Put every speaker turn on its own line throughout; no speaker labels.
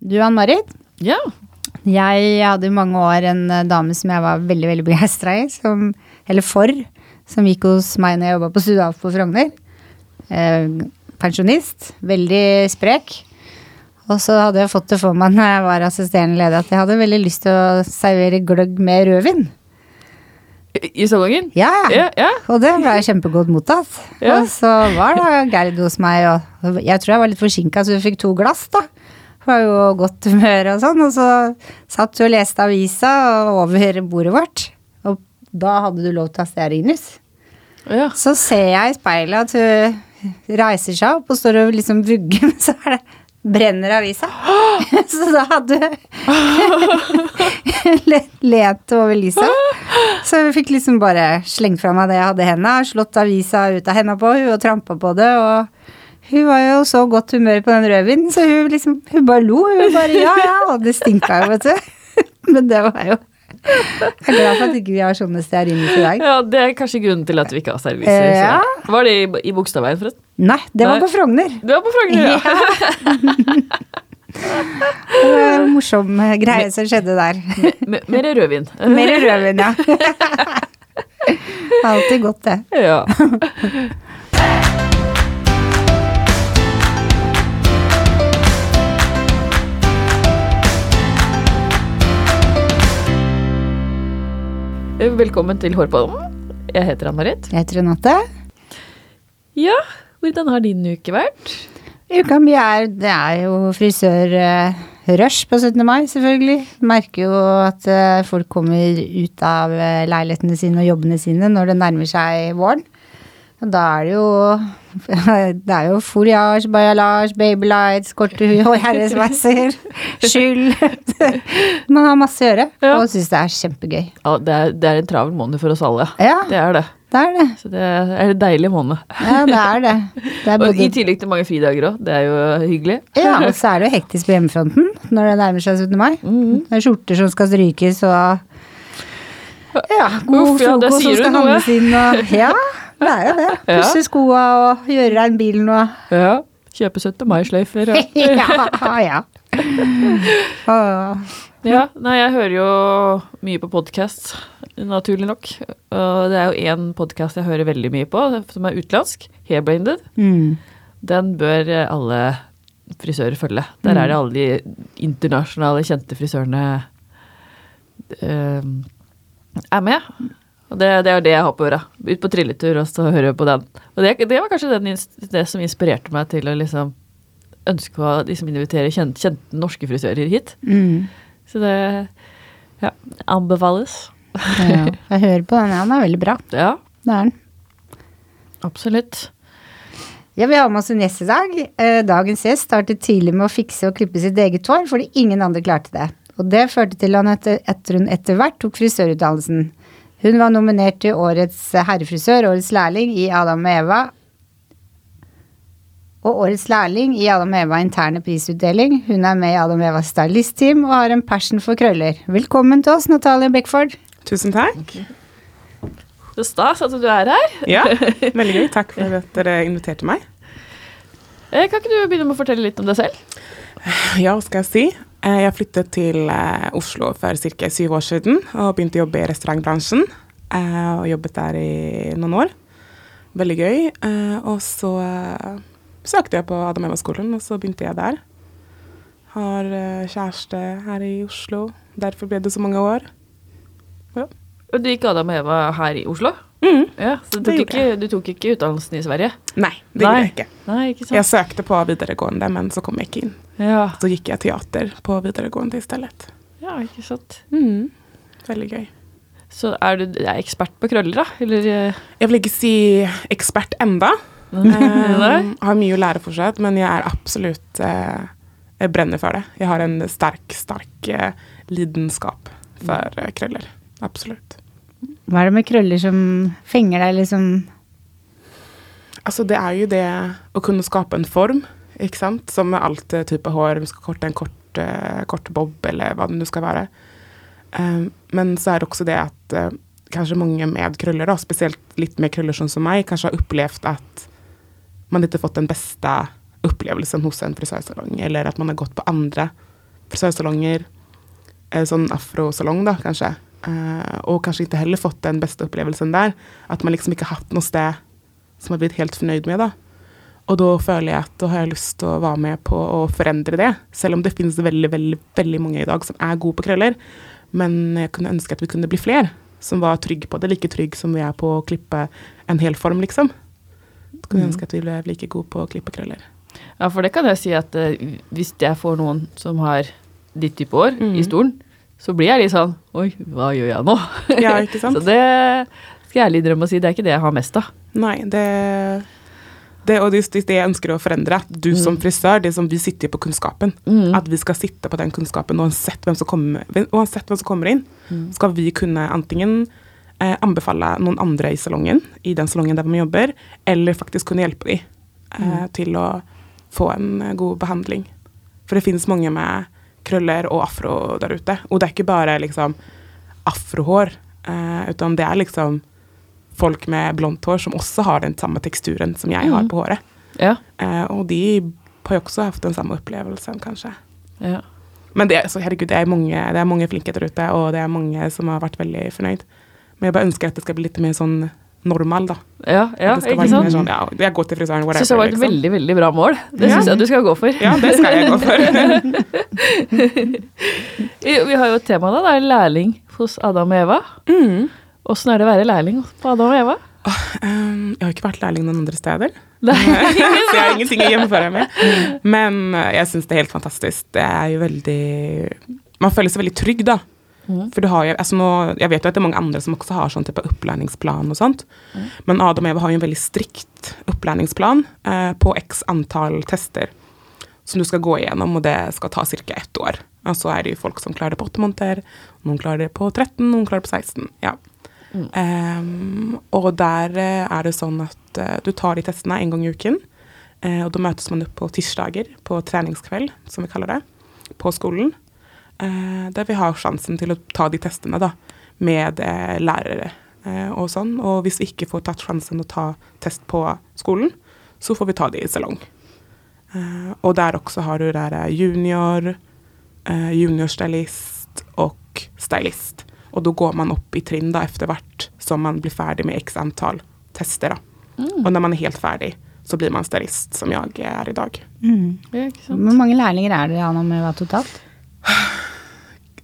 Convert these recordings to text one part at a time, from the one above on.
Du, Ann Marit.
Ja.
Jeg hadde i mange år en eh, dame som jeg var veldig veldig begeistra i, som, eller for, som gikk hos meg når jeg jobba på Studaf på Frogner. Eh, pensjonist. Veldig sprek. Og så hadde jeg fått det for meg når jeg var assisterende leder, at jeg hadde veldig lyst til å servere gløgg med rødvin.
I salongen?
Ja,
Ja, ja.
Og det ble jeg kjempegodt mottatt.
Ja.
Og så var da Gerd hos meg, og jeg tror jeg var litt forsinka, så vi fikk to glass, da. Det Var jo godt humør og sånn. Og så satt du og leste avisa over bordet vårt. Og da hadde du lov til å ha stearinlys.
ja.
Så ser jeg i speilet at hun reiser seg opp og står og liksom vugger, men så er det brenner avisa. Så da hadde hun le- lent over lyset. Så vi fikk liksom bare slengt fra meg det jeg hadde i henda, slått avisa ut av henda på hun og trampa på det. og hun var jo så godt humør på den rødvinen, så hun liksom, hun bare lo. Hun bare ja, ja, og det stinka jo, vet du. Men det var jo Jeg er glad for at ikke vi har sånne stearinlys i dag.
ja, det er kanskje grunnen til at vi ikke har serviser.
Eh,
så.
ja.
Var det i, i Bogstadveien, forresten?
Nei, det var
Nei.
på Frogner.
Du var på Frogner, ja.
Det var en morsom eh, greie som skjedde der.
Me- Mer rødvin.
Mer rødvin, ja. Alltid godt, det.
Ja. Eh, Velkommen til Hårpodden. Jeg heter Ann-Marit.
Jeg tror Natte.
Ja, hvordan har din uke vært?
Uka mi er Det er jo frisørrush på 17. mai, selvfølgelig. Merker jo at eh, folk kommer ut av eh, leilighetene sine og jobbene sine når det nærmer seg våren. Og Da er det jo Det er jo foliage, bajalage, babylights, korte hu- og herresveiser, skyld Man har masse å gjøre
Ja.
og syns det er kjempegøy.
Ja, det, er, det er en travel måned for oss alle.
Ja,
Det er det.
det er det.
Så det er en deilig måned.
Ja, det er det. det er
Og
både,
I tillegg til mange fridager òg. Det er jo hyggelig.
ja, og så er det jo hektisk på hjemmefronten når det nærmer seg 17. mai.
Mhm.
Mm. Det er skjorter som skal strykes og ja, god
Uff, ja, det
frokost som
sier du
skal
noe.
handles inn og Ja, det er jo det.
Ja.
Pusse skoa og gjøre rein bilen og
Ja. Kjøpe 17. mai-sløyfer. og-
Ja, ja. Åh,
Ja, nei, jeg hører jo mye på podkast, naturlig nok. Og det er jo én podkast jeg hører veldig mye på, som er utenlandsk, Hairbrained.
mm.
Den bør eh, alle frisører følge. Der er det alle de internasjonale, kjente frisørene eh, er med. Og det, det er det jeg har på øra. Ut på trilletur og så høre på den. Og det, det var kanskje den, ins- det som inspirerte meg til å liksom ønske å liksom invitere kjente, kjente norske frisører hit.
Mm.
Så det ja, anbefales.
Ja, jeg hører på den, ja. Den er veldig bra.
Ja,
Det er den.
absolutt.
Ja, Vi har med oss en gjest i dag. Eh, Dagens gjest startet tidlig med å fikse og klippe sitt eget hår fordi ingen andre klarte det. Og det førte til han etter, etter hun etter hvert tok frisørutdannelsen. Hun var nominert til Årets herrefrisør, Årets lærling i Adam og Eva. Og Årets lærling i Adam og Eva interne prisutdeling. Hun er med i Adam og Evas stylistteam og har en passion for krøller. Velkommen til oss, Natalie Beckford.
Tusen takk.
Så stas at du er her.
Ja, veldig gøy. Takk for at dere inviterte meg.
Eh, Kan ikke du begynne med å fortelle litt om deg selv?
Ja, hva skal jeg si? Eh, Jeg flyttet til eh, Oslo for ca. syv år siden og begynte å jobbe i restaurantbransjen. eh, Og jobbet der i noen år. Veldig gøy. Eh, Og så eh, søkte jeg på Adam Eva-skolen, og så begynte jeg der. Har eh, kjæreste her i Oslo. Derfor ble det så mange år.
Og Du gikk Adam og Eva her i Oslo?
Mm.
Ja, så du tok,
Det gjorde
ikke, du tok ikke utdannelsen i Sverige?
Nei, det
Nei.
gjorde jeg ikke.
Nei, ikke
Jeg
sant?
søkte på videregående, men så kom jeg ikke inn.
Ja,
Så gikk jeg teater på videregående i stedet.
ja ikke sant.
Mm. Veldig gøy.
Så er du er ekspert på krøller, da? Eller eh,
Jeg vil ikke si ekspert enda.
Nei?
Um, har mye å lære fortsatt, men jeg er absolutt eh, Jeg brenner for det. Jeg har en sterk, sterk eh, lidenskap for eh, krøller. Absolutt.
Hva er det med krøller som fenger deg, liksom?
Altså, det er jo det å kunne skape en form, ikke sant? Som med alt eh, type hår. Du skal korte en kort, eh, kort bob, eller hva det nå skal være. Eh, men så er det også det at eh, kanskje mange med krøller, da, spesielt litt med krøller sånn som meg, kanskje har opplevd at man ikke har fått den beste opplevelsen hos en frisørsalong, eller at man har gått på andre frisørsalonger, eh, sånn afrosalong da, kanskje. Eh, og kanskje ikke heller fått den beste opplevelsen der. At man liksom ikke har hatt noe sted som man har blitt helt fornøyd med. da. Og da føler jeg at da har jeg lyst til å være med på å forandre det. Selv om det finnes veldig, veldig, veldig mange i dag som er gode på krøller. Men jeg kunne ønske at vi kunne bli flere som var trygge på det. Like trygge som vi er på å klippe en hel form, liksom. Jeg kunne ønske at vi ble like gode på å klippe krøller.
Ja, for det kan jeg si at eh, hvis jeg får noen som har ditt type år
Mm.
i stolen, så blir jeg litt sånn Oi, hva gjør jeg nå?
Ja, ikke sant?
så det skal jeg ærlig drømme å si, det er ikke det jeg har mest av.
Nei, det, det Og det er just det jeg ønsker å forandre. At du som frisør, det som vi sitter på kunnskapen.
Mm.
At vi skal sitte på den kunnskapen uansett hvem som kommer, uansett hvem som kommer inn. Skal vi kunne antingen eh, anbefale noen andre i salongen, i den salongen der man jobber, eller faktisk kunne hjelpe de eh, til å få en eh, god behandling. For det finnes mange med krøller og afro der ute. Og det er ikke bare liksom afrohår, eh, utan det er liksom folk med blondt hår som også har den samme teksturen som jeg har på håret.
Ja,
Eh, og de har jo også hatt den samme opplevelsen, kanskje.
ja.
Men det, er- så herregud, det er, mange, det er mange flinke der ute, og det er mange som har vært veldig fornøyd. Men jeg bare ønsker at det skal bli litt mer sånn normal, da.
Ja, ja
at det skal
ikke
være litt
sant?
mer sånn, ja, jeg går til frisøren,
Jeg
whatever. liksom.
syns det var et veldig veldig bra mål. Det syns jeg du skal gå for.
Ja, det skal jeg gå for.
Vi vi har jo et tema da, det er lærling hos Adam og Eva. Mm. Åssen er det å være lærling på Adam og Eva?
Um, jeg har ikke vært lærling noen andre steder.
Nei.
så jeg har ingenting å gjennomføre med. Men eh, jeg syns det er helt fantastisk. Det er jo veldig Man føler seg veldig trygg, da. For du har jo, altså nå, jeg vet jo at det er mange andre som også har sånn type opplæringsplan og sånt. Men Adam og Eva har jo en veldig strikt opplæringsplan eh, på x antall tester som du skal gå igjennom, og det skal ta ca. ett år. Og så er det jo folk som klarer det på åtte måneder, noen klarer det på 13, noen klarer det på 16. ja. Ehm, og der eh, er det sånn at eh, du tar de testene en gang i uken, eh, og da møtes man opp på tirsdager, på treningskveld, som vi kaller det, på skolen, eh, der vi har sjansen til å ta de testene da, med eh, lærere eh, og sånn. Og hvis vi ikke får tatt sjansen å ta test på skolen, så får vi ta det i salong. Eh, og der også har du der eh, junior, eh, juniorstylist og stylist. Og da går man opp i trinn da etter hvert som man blir ferdig med x antall tester. Da. Og når man er helt ferdig, så blir man stylist, som jeg er i dag.
Mm,
Ja, ikke sant?
Hvor mange lærlinger er det Anna med hva totalt?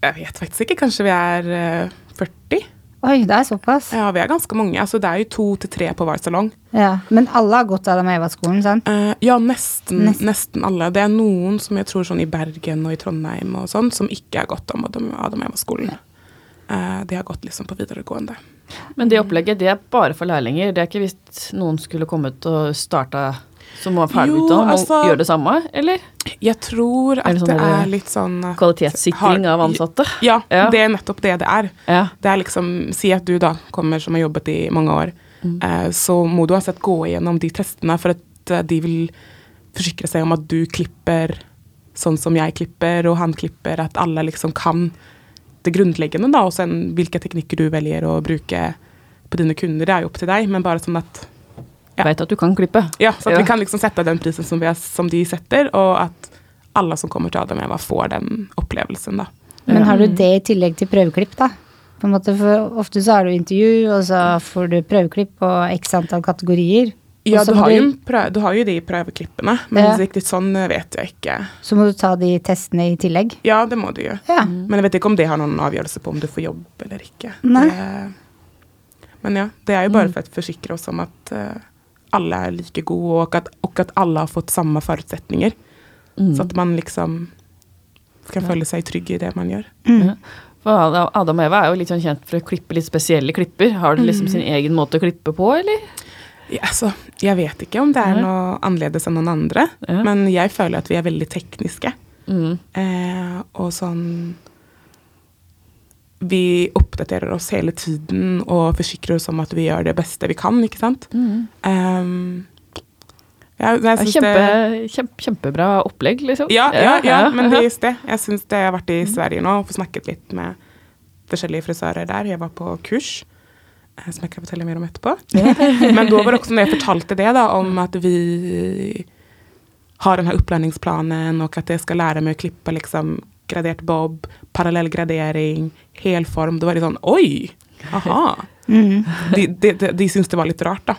Jeg vet faktisk ikke, kanskje vi er eh, 40?
Oi, det er såpass.
Ja, vi er ganske mange. Altså, det er jo to til tre på hver salong.
Ja. Men alle har gått av Adam og Eva-skolen, sant?
Eh, ja, nesten,
Nest-
nesten alle. Det er noen som jeg tror sånn i Bergen og i Trondheim og sånn, som ikke har gått om Adam Adam Eva-skolen. Eh, de har gått liksom på videregående.
Men det opplegget, det er bare for lærlinger. Det er ikke hvis noen skulle kommet og starta som var
Jo,
ferdigutdannet
altså-
og gjøre det samme, eller?
Jeg tror at
Er det
det,
sånn dere-
er litt sånn at-
Kvalitetssikring
har-
av ansatte.
Ja,
Ja.
det er nettopp det det er.
Ja.
Det er liksom, Si at du da kommer som har jobbet i mange år, eh, så må du uansett gå igjennom de testene for at eh, de vil forsikre seg om at du klipper sånn som jeg klipper, og han klipper, at alle liksom kan det grunnleggende, da, og sen hvilke teknikker du velger å bruke på dine kunder, det er jo opp til deg, men bare sånn at Ja.
Veit at du kan klippe.
ja, så at
Ja.
vi kan liksom sette den prisen som, vi er, som de setter, og at alle som kommer til Adam Eva får den opplevelsen, da.
Men har du det i tillegg til prøveklipp, da? På en måte, for ofte så har du intervju, og så får du prøveklipp på x antall kategorier. og
Ja,
så
du
må
har, jo, en prø- du har jo de prøveklippene, men
Ja.
riktig sånn vet jeg ikke.
Så må du ta de testene i tillegg.
Ja, det må du jo.
Ja.
Men jeg vet ikke om det har noen avgjørelse på om du får jobb eller ikke.
Nei. Mm.
Det, men ja, det er jo bare for å forsikre oss om at eh, alle er like gode, og at, og at alle har fått samme forutsetninger.
Mm.
Mm.
Så at man liksom kan føle seg trygg i det man gjør.
Mm.
Ja. For Adam- Adam og Eva er jo litt sånn kjent for å klippe litt spesielle klipper. Har de
Mm.
liksom sin egen måte å klippe på, eller?
Ja, altså, jeg vet ikke om det er
Nei.
noe annerledes enn noen andre,
Ja.
men jeg føler at vi er veldig tekniske.
Mm.
Eh, og sånn Vi oppdaterer oss hele tiden og forsikrer oss om at vi gjør det beste vi kan, ikke sant?
Mm.
Ehm, ja, jeg
Det er
synes
kjempe,
det-
kjempe, kjempebra opplegg, liksom.
ja, ja, ja, men det er
ja.
just det. Jeg syns det. Jeg har vært i Sverige nå og fått snakket litt med forskjellige frisører der. Jeg var på kurs, eh, som jeg kan fortelle mer om etterpå. Men da var det også når jeg fortalte det, da, om at vi har den her opplæringsplanen, og at jeg skal lære meg å klippe liksom gradert bob, parallellgradering, helform. Det var litt sånn Oi! Aha!
Mm.
De, de, de, de syntes det var litt rart, da.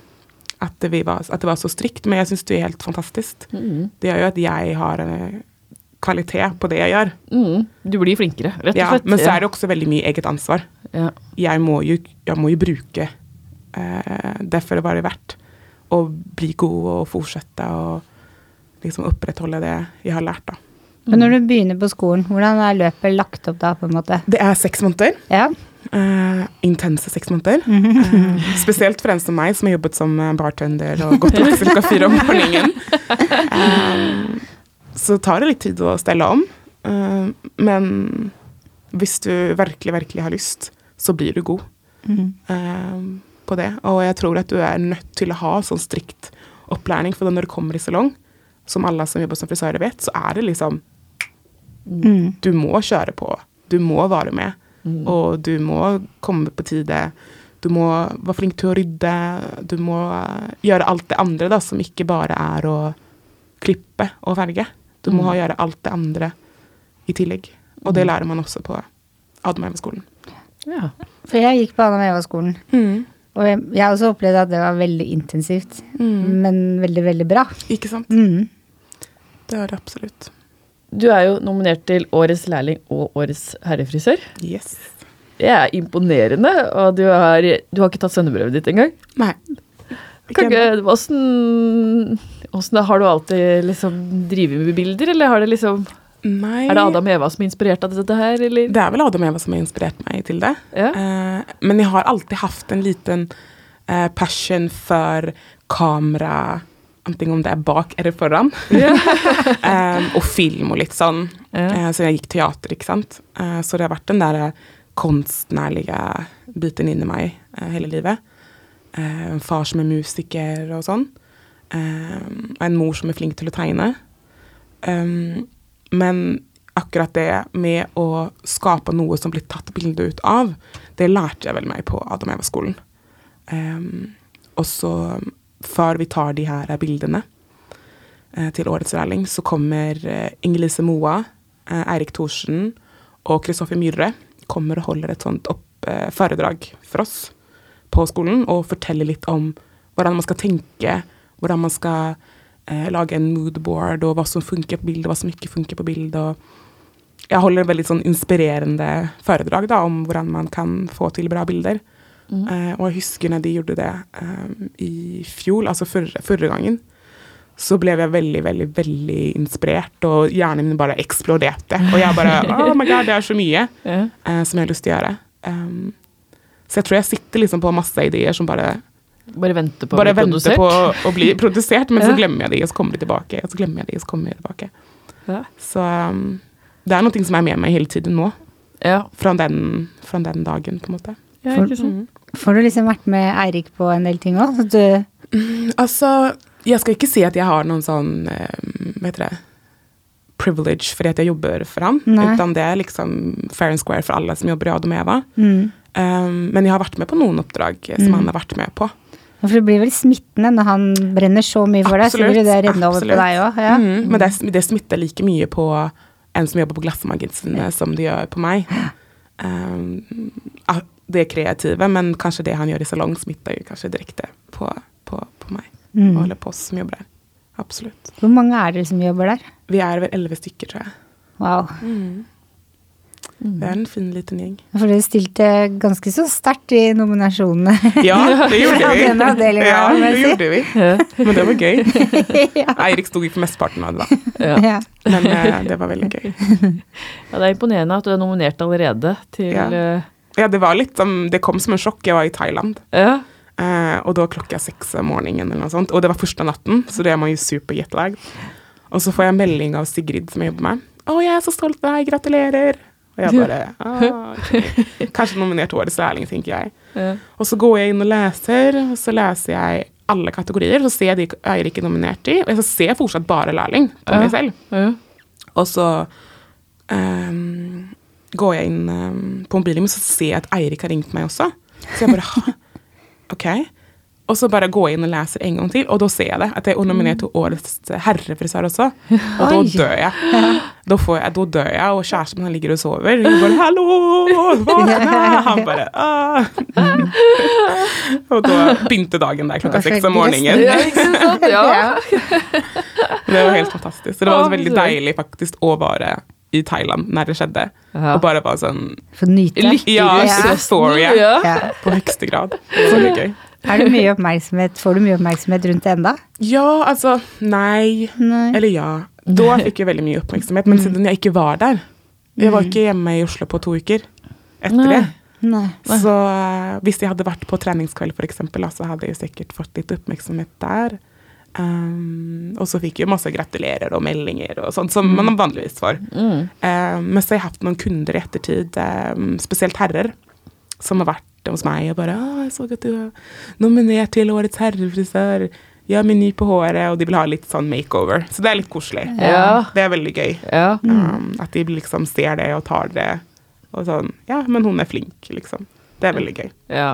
At, vi var, at det var så strikt. Men jeg syns det er helt fantastisk.
Mm.
Det gjør jo at jeg har eh, kvalitet på det jeg gjør.
Mm. Du blir flinkere, rett og
Ja,
slett.
men så er det også veldig mye eget ansvar.
ja.
Jeg må jo, jeg må jo bruke eh, Derfor var det verdt å bli god og fortsette å liksom opprettholde det jeg har lært, da.
Men
Mm.
når du begynner på skolen, hvordan er løpet lagt opp da, på en måte?
Det er seks måneder.
Ja.
eh, intense seks måneder. Eh, spesielt for en som meg, som har jobbet som eh, bartender og gått opp klokka fire om morgenen. Eh, så tar det litt tid å stelle om. eh, men hvis du virkelig, virkelig har lyst, så blir du god
Mm.
eh, på det. Og jeg tror at du er nødt til å ha sånn strikt opplæring, for når du kommer i salong, som alle som jobber som frisører vet, så er det liksom
Mm.
du må kjøre på. Du må være med.
Mm.
Og du må komme på tide. Du må være flink til å rydde. Du må eh, gjøre alt det andre da, som ikke bare er å klippe og farge. Du må
Mm.
gjøre alt det andre i tillegg. Og det lærer man også på Admeiva-skolen.
Ja.
For jeg gikk på Anna Meva-skolen, og jeg, jeg har også opplevd at det var veldig intensivt,
Mm.
men veldig, veldig bra.
Ikke sant?
Mm.
Det er det absolutt.
Du er jo nominert til Årets lærling og Årets herrefrisør.
Yes.
Det er imponerende, og du har, du har ikke tatt sendebrevet ditt engang.
Nei.
Kan
Ikke-
ikke- Åssen åssen da, Har du alltid liksom drevet med bilder, eller har det liksom,
Nei.
er det Adam Eva som er inspirert av dette her, eller?
Det er vel Adam og Eva som har inspirert meg til det.
Ja.
Eh, men jeg har alltid haft en liten eh, passion for kamera, enten om det er bak eller foran, Eh, og film og litt sånn.
Ja.
Eh, så jeg gikk teater, ikke sant. Eh, så det har vært den der eh, konstnærlige biten inni meg eh, hele livet. Eh, en far som er musiker og sånn. Eh, og en mor som er flink til å tegne. Um, men akkurat det med å skape noe som blir tatt bilde ut av, det lærte jeg vel meg på Adam Eva-skolen. Um, og så før vi tar de her bildene eh, til årets lærling, så kommer eh, Inger-Lise Moa, eh, Eirik Thorsen og Kristoffer Myhre kommer og holder et sånt opp, eh, foredrag for oss på skolen og forteller litt om hvordan man skal tenke, hvordan man skal eh, lage en moodboard, og hva som funker på bildet, hva som ikke funker på bildet. Og jeg holder veldig sånn inspirerende foredrag da, om hvordan man kan få til bra bilder. Eh, og jeg husker når de gjorde det eh, i fjor, altså forrige, forrige gangen, så ble jeg veldig, veldig, veldig inspirert, og hjernen min bare eksploderte. Og jeg bare Oh my god, det er så mye
Ja.
eh, som jeg har lyst til å gjøre. Ehm, så jeg tror jeg sitter liksom på masse ideer som bare,
Bare vente på å
bare
bli
venter
produsert.
på å bli produsert, men så
Ja.
glemmer jeg de, og så kommer de tilbake. Og så glemmer jeg de, og så kommer de tilbake.
Ja.
Så ehm, det er noe som er med meg hele tiden nå,
Ja.
fra den, fra den dagen, på en måte.
Ja,
For-
ikke sant?
Får du liksom vært med Eirik på en del ting òg? Du
Altså, jeg skal ikke si at jeg har noen sånn eh, Hva heter det? Privilege fordi at jeg jobber for han.
Nei.
Utan det er liksom fair and square for alle som jobber i Adomeva.
mm.
Um, men jeg har vært med på noen oppdrag eh, som
Mm.
han har vært med på.
For det blir vel smittende når han brenner så mye for deg, så
Absolutt,
blir det renne over på
absolutt.
deg òg. Ja.
Mm, men det, det smitter like mye på en som jobber på Glassmagasinet som det gjør på meg. Um, ah, det kreative, men kanskje det han gjør i salong, smitter jo kanskje direkte på, på, på meg.
Mm.
Eller på oss som jobber der. Absolutt.
Hvor mange er dere som jobber der?
Vi er vel elleve stykker, tror jeg.
Wow.
Mm.
Mm.
Det er en fin liten gjeng.
For dere stilte ganske så sterkt i nominasjonene.
Ja, det gjorde
Ja,
vi.
den avdelingen,
ja,
må jeg
det
si.
gjorde vi.
Ja.
Men det var gøy.
ja.
Eirik sto jo for mesteparten av det, da.
Ja.
Ja.
Men eh, det var veldig gøy.
ja, det er imponerende at du er nominert allerede til
Ja.
eh,
Ja, det var litt som Det kom som en sjokk. Jeg var i Thailand.
ja.
Eh, og da klokka er seks om morgenen, eller noe sånt. Og det var første natten, så det er man jo super jetlag. Og så får jeg en melding av Sigrid, som jeg jobber med. 'Å, jeg er så stolt av deg. Gratulerer.' Og jeg bare «Ah, ok.» Kanskje nominert årets lærling, tenker jeg.
Ja.
Og så går jeg inn og leser, og så leser jeg alle kategorier. Så ser jeg de Eirik er nominert i, og jeg ser fortsatt bare lærling på
Ja.
meg selv.
Ja.
Og så ehm, går jeg inn ehm, på mobilen min, så ser jeg at Eirik har ringt meg også. Så jeg bare «Hæ? OK. Og så bare går jeg inn og leser en gang til, og da ser jeg det. At jeg er nominert til årets herrefrisør også. Og da
Oi.
dør jeg. Da, får jeg, da dør jeg, og kjæresten min han ligger og sover. Hun bare 'hallo, våkne!' Han bare «Ah». Og da begynte dagen der klokka seks om morgenen.
Ja, ikke sant? Ja.
Det var helt fantastisk. Så det var
Ja,
også veldig
absolutt.
deilig faktisk å være i Thailand når det skjedde.
Ja.
Og bare være sånn
Få nyte.
Lykke
Ja,
til.
så sorry.
Ja.
Ja.
På høyeste grad. Det var veldig gøy.
Er det mye oppmerksomhet? Får du mye oppmerksomhet rundt det enda?
Ja, altså Nei.
Nei.
Eller ja. Da fikk jeg veldig mye oppmerksomhet, men siden jeg ikke var der Jeg var ikke hjemme i Oslo på to uker etter
Nei.
det.
Nei.
Så eh, hvis jeg hadde vært på treningskveld, for eksempel, da, så hadde jeg sikkert fått litt oppmerksomhet der. Um, og så fikk jeg masse gratulerer og meldinger og sånt, som man vanligvis får.
Mm.
Eh, men så har jeg hatt noen kunder i ettertid, eh, spesielt herrer, som har vært hos meg og bare «Å, jeg så at du var nominert til Årets herrefrisør. Gjør meny på håret, og de vil ha litt sånn makeover. Så det er litt koselig.
Ja. Mm.
Det er veldig gøy.
Ja.
Um, at de liksom ser det og tar det. Og sånn Ja, men hun er flink, liksom. Det er veldig gøy.
ja.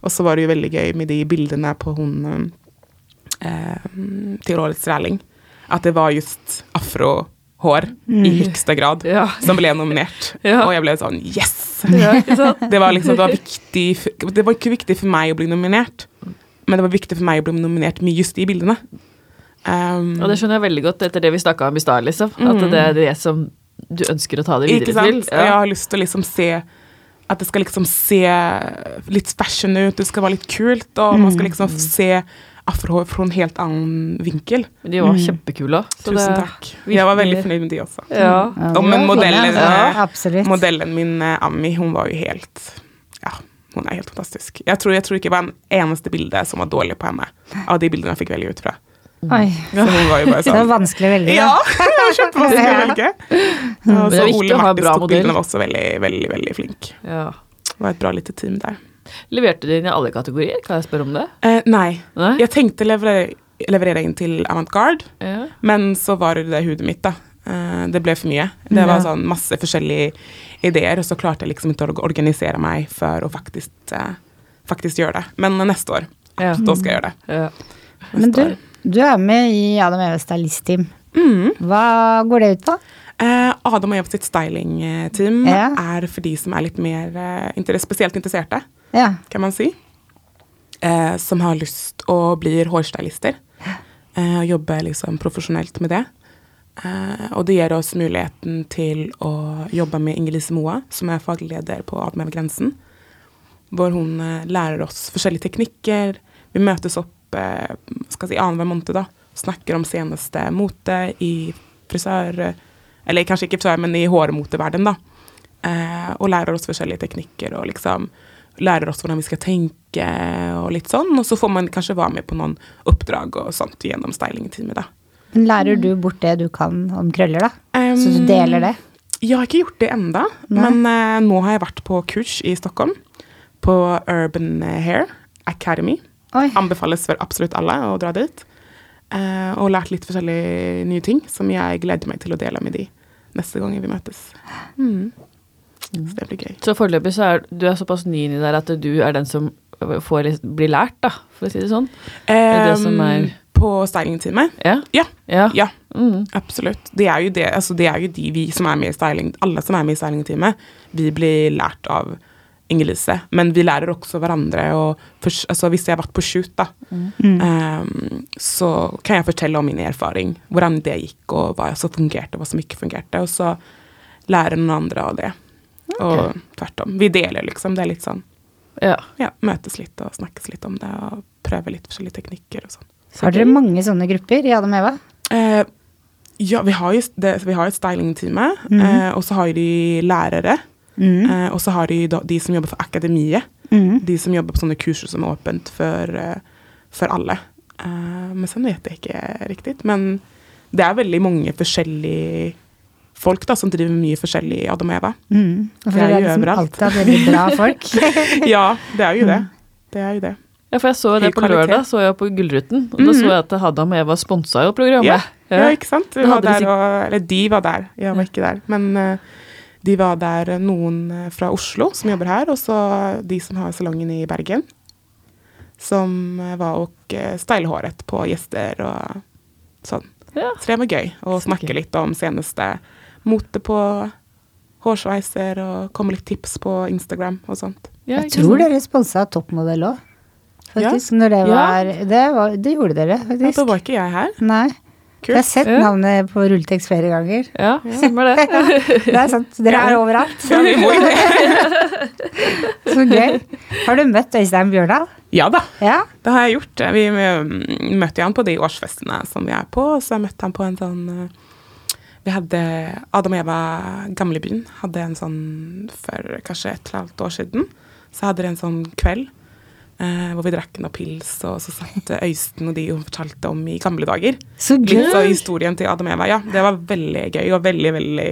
Og så var det jo veldig gøy med de bildene på hun um, eh, til årets lærling. At det var just afrohår
Mm.
i høyeste grad
Ja.
som ble nominert.
Ja.
Og jeg ble sånn Yes!
Ja, ikke sant?
Det var liksom det var viktig for, Det var ikke viktig for meg å bli nominert, men det var viktig for meg å bli nominert med just de bildene. Um,
Og det skjønner jeg veldig godt etter det vi snakka om i stad, liksom. At det er det som du ønsker å ta det
Ikke
videre til.
sant? Og Jeg har lyst til å liksom se at det skal liksom se litt fashion ut, det skal være litt kult, og man skal liksom
Mm.
se afrohår fra en helt annen vinkel.
Men De var kjempekule òg.
Tusen takk. Jeg var veldig fornøyd med de også.
Ja.
Ja,
Og
det
men
var fint,
modellen,
altså.
eh,
Absolutt.
modellen min, eh, Ami, hun var jo helt Ja, hun er helt fantastisk. Jeg tror, jeg tror ikke det var en eneste bilde som var dårlig på henne, av de bildene jeg fikk velge ut fra.
Oi.
Så hun var jo bare
Det var
sånn
vanskelig å velge. da.
ja, det var kjempevanskelig å velge. Ja,
Mm, Men det
Så
er viktig
Ole
å ha en
Martis
bra
tok
modell.
bildene var også veldig, veldig, veldig flink.
ja.
Det var et bra lite team der.
Leverte de inn i alle kategorier? Kan jeg spørre om det?
Eh, nei.
Nei?
Jeg tenkte leverere, leverere inn til avantgarde,
Ja.
men så var det det hudet mitt, da. Eh, det ble for mye. Det var sånn masse forskjellige ideer, og så klarte jeg liksom ikke å organisere meg for å faktisk, eh, faktisk gjøre det. Men neste år,
Ja.
da skal jeg gjøre det.
Ja.
Neste
Men du,
år.
du er med i Adam Eves stylistteam. Mm. Hva går det ut på?
Eh, Adam og Eva sitt stylingteam
Ja.
er for de som er litt mer eh, inter spesielt interesserte.
Ja.
kan man si, eh, som har lyst og blir hårstylister. Eh, og jobber liksom profesjonelt med det. Eh, og det gir oss muligheten til å jobbe med Inger-Lise Moa, som er fagleder på Adam over grensen. Hvor hun eh, lærer oss forskjellige teknikker. Vi møtes opp eh, skal jeg si, annenhver måned, da. Snakker om seneste mote i frisør... Eller kanskje ikke frisør, men i hårmoteverden, da. Eh, og lærer oss forskjellige teknikker og liksom lærer oss hvordan vi skal tenke og litt sånn. Og så får man kanskje være med på noen oppdrag og sånt gjennom stylingteamet, da.
Men lærer du bort det du kan om krøller, da? Så du
Em,
deler det?
Jeg har ikke gjort det enda,
Nei.
men eh, nå har jeg vært på kurs i Stockholm. På Urban Hair Academy.
Oi.
Anbefales for absolutt alle å dra dit. Eh, og lært litt forskjellige nye ting som jeg gleder meg til å dele med de neste gang vi møtes. Mm. Så det blir gøy.
Så foreløpig så er du er såpass ny inni der at du er den som får, litt- blir lært, da, for å si det sånn. det som er-
Em, På stylingteamet?
Ja.
Ja.
Ja.
Ja,
Mm.
absolutt. Det er jo det, altså det er jo de vi som er med i styling, alle som er med i stylingteamet, vi blir lært av Inger-Lise. Men vi lærer også hverandre. Og fors- altså hvis jeg har vært på shoot, da,
Mm.
ehm, så kan jeg fortelle om min erfaring. Hvordan det gikk, og hva som fungerte, og hva som ikke fungerte. Og så lærer noen andre av det. Og tvert om. Vi deler, liksom. Det er litt sånn
ja.
ja, møtes litt og snakkes litt om det, og prøver litt forskjellige teknikker og sånn.
Har dere mange sånne grupper i Adam Eva?
Eh, ja, vi har jo det, vi har et stylingteamet, eh, og så har de lærere.
Mm.
Eh, og så har de da, de som jobber for akademiet. De som jobber på sånne kurser som er åpent for, eh, for alle. Eh, men sånn vet jeg ikke riktig. Men det er veldig mange forskjellige folk da, som driver mye forskjellig i Adam og Eva.
For
Det er
dere
jo
liksom
overalt.
alltid hatt veldig bra folk.
ja, det er jo det. Det er jo det.
Ja, for jeg så
Høy
det på
kvalitet.
lørdag, så jeg på Gullruten. Og da så jeg at Hadam og Eva sponsa jo
Ja,
programmet.
ja, ikke sant? Vi
Da
var
hadde de
der, og, eller de var der, jeg var ikke der. Men eh, de var der eh, noen eh, fra Oslo som jobber her, og så de som har salongen i Bergen. Som eh, var og eh, stylet håret på gjester og sånn.
Ja.
Så det var gøy å
Så
snakke
gøy.
litt om seneste mote på hårsveiser og komme litt tips på Instagram og sånt.
Ja,
Jeg
ikke
tror
sant?
dere sponsa toppmodell òg, faktisk. Når det
Ja.
var, det var Det gjorde dere,
Ja, da
faktisk.
var ikke jeg her.
Nei.
Kult.
Jeg har sett
Ja.
navnet på rulletekst flere ganger.
Ja, stemmer det.
Det er sant. Dere er overalt.
Ja, vi må jo det.
Så gøy. Har du møtt Øystein Bjørdal?
Ja da,
Ja?
det har jeg gjort. Vi mm, møtte jo han på de årsfestene som vi er på, og så møtte han på en sånn eh, Vi hadde Adam og Eva Gamlebyen hadde en sånn for kanskje et eller annet år siden. Så hadde de en sånn kveld eh, hvor vi drakk noe pils, og så satt eh, Øystein og de og fortalte om i gamle dager.
Så gøy.
Litt av historien til Adam og Eva. Ja, det var veldig gøy og veldig, veldig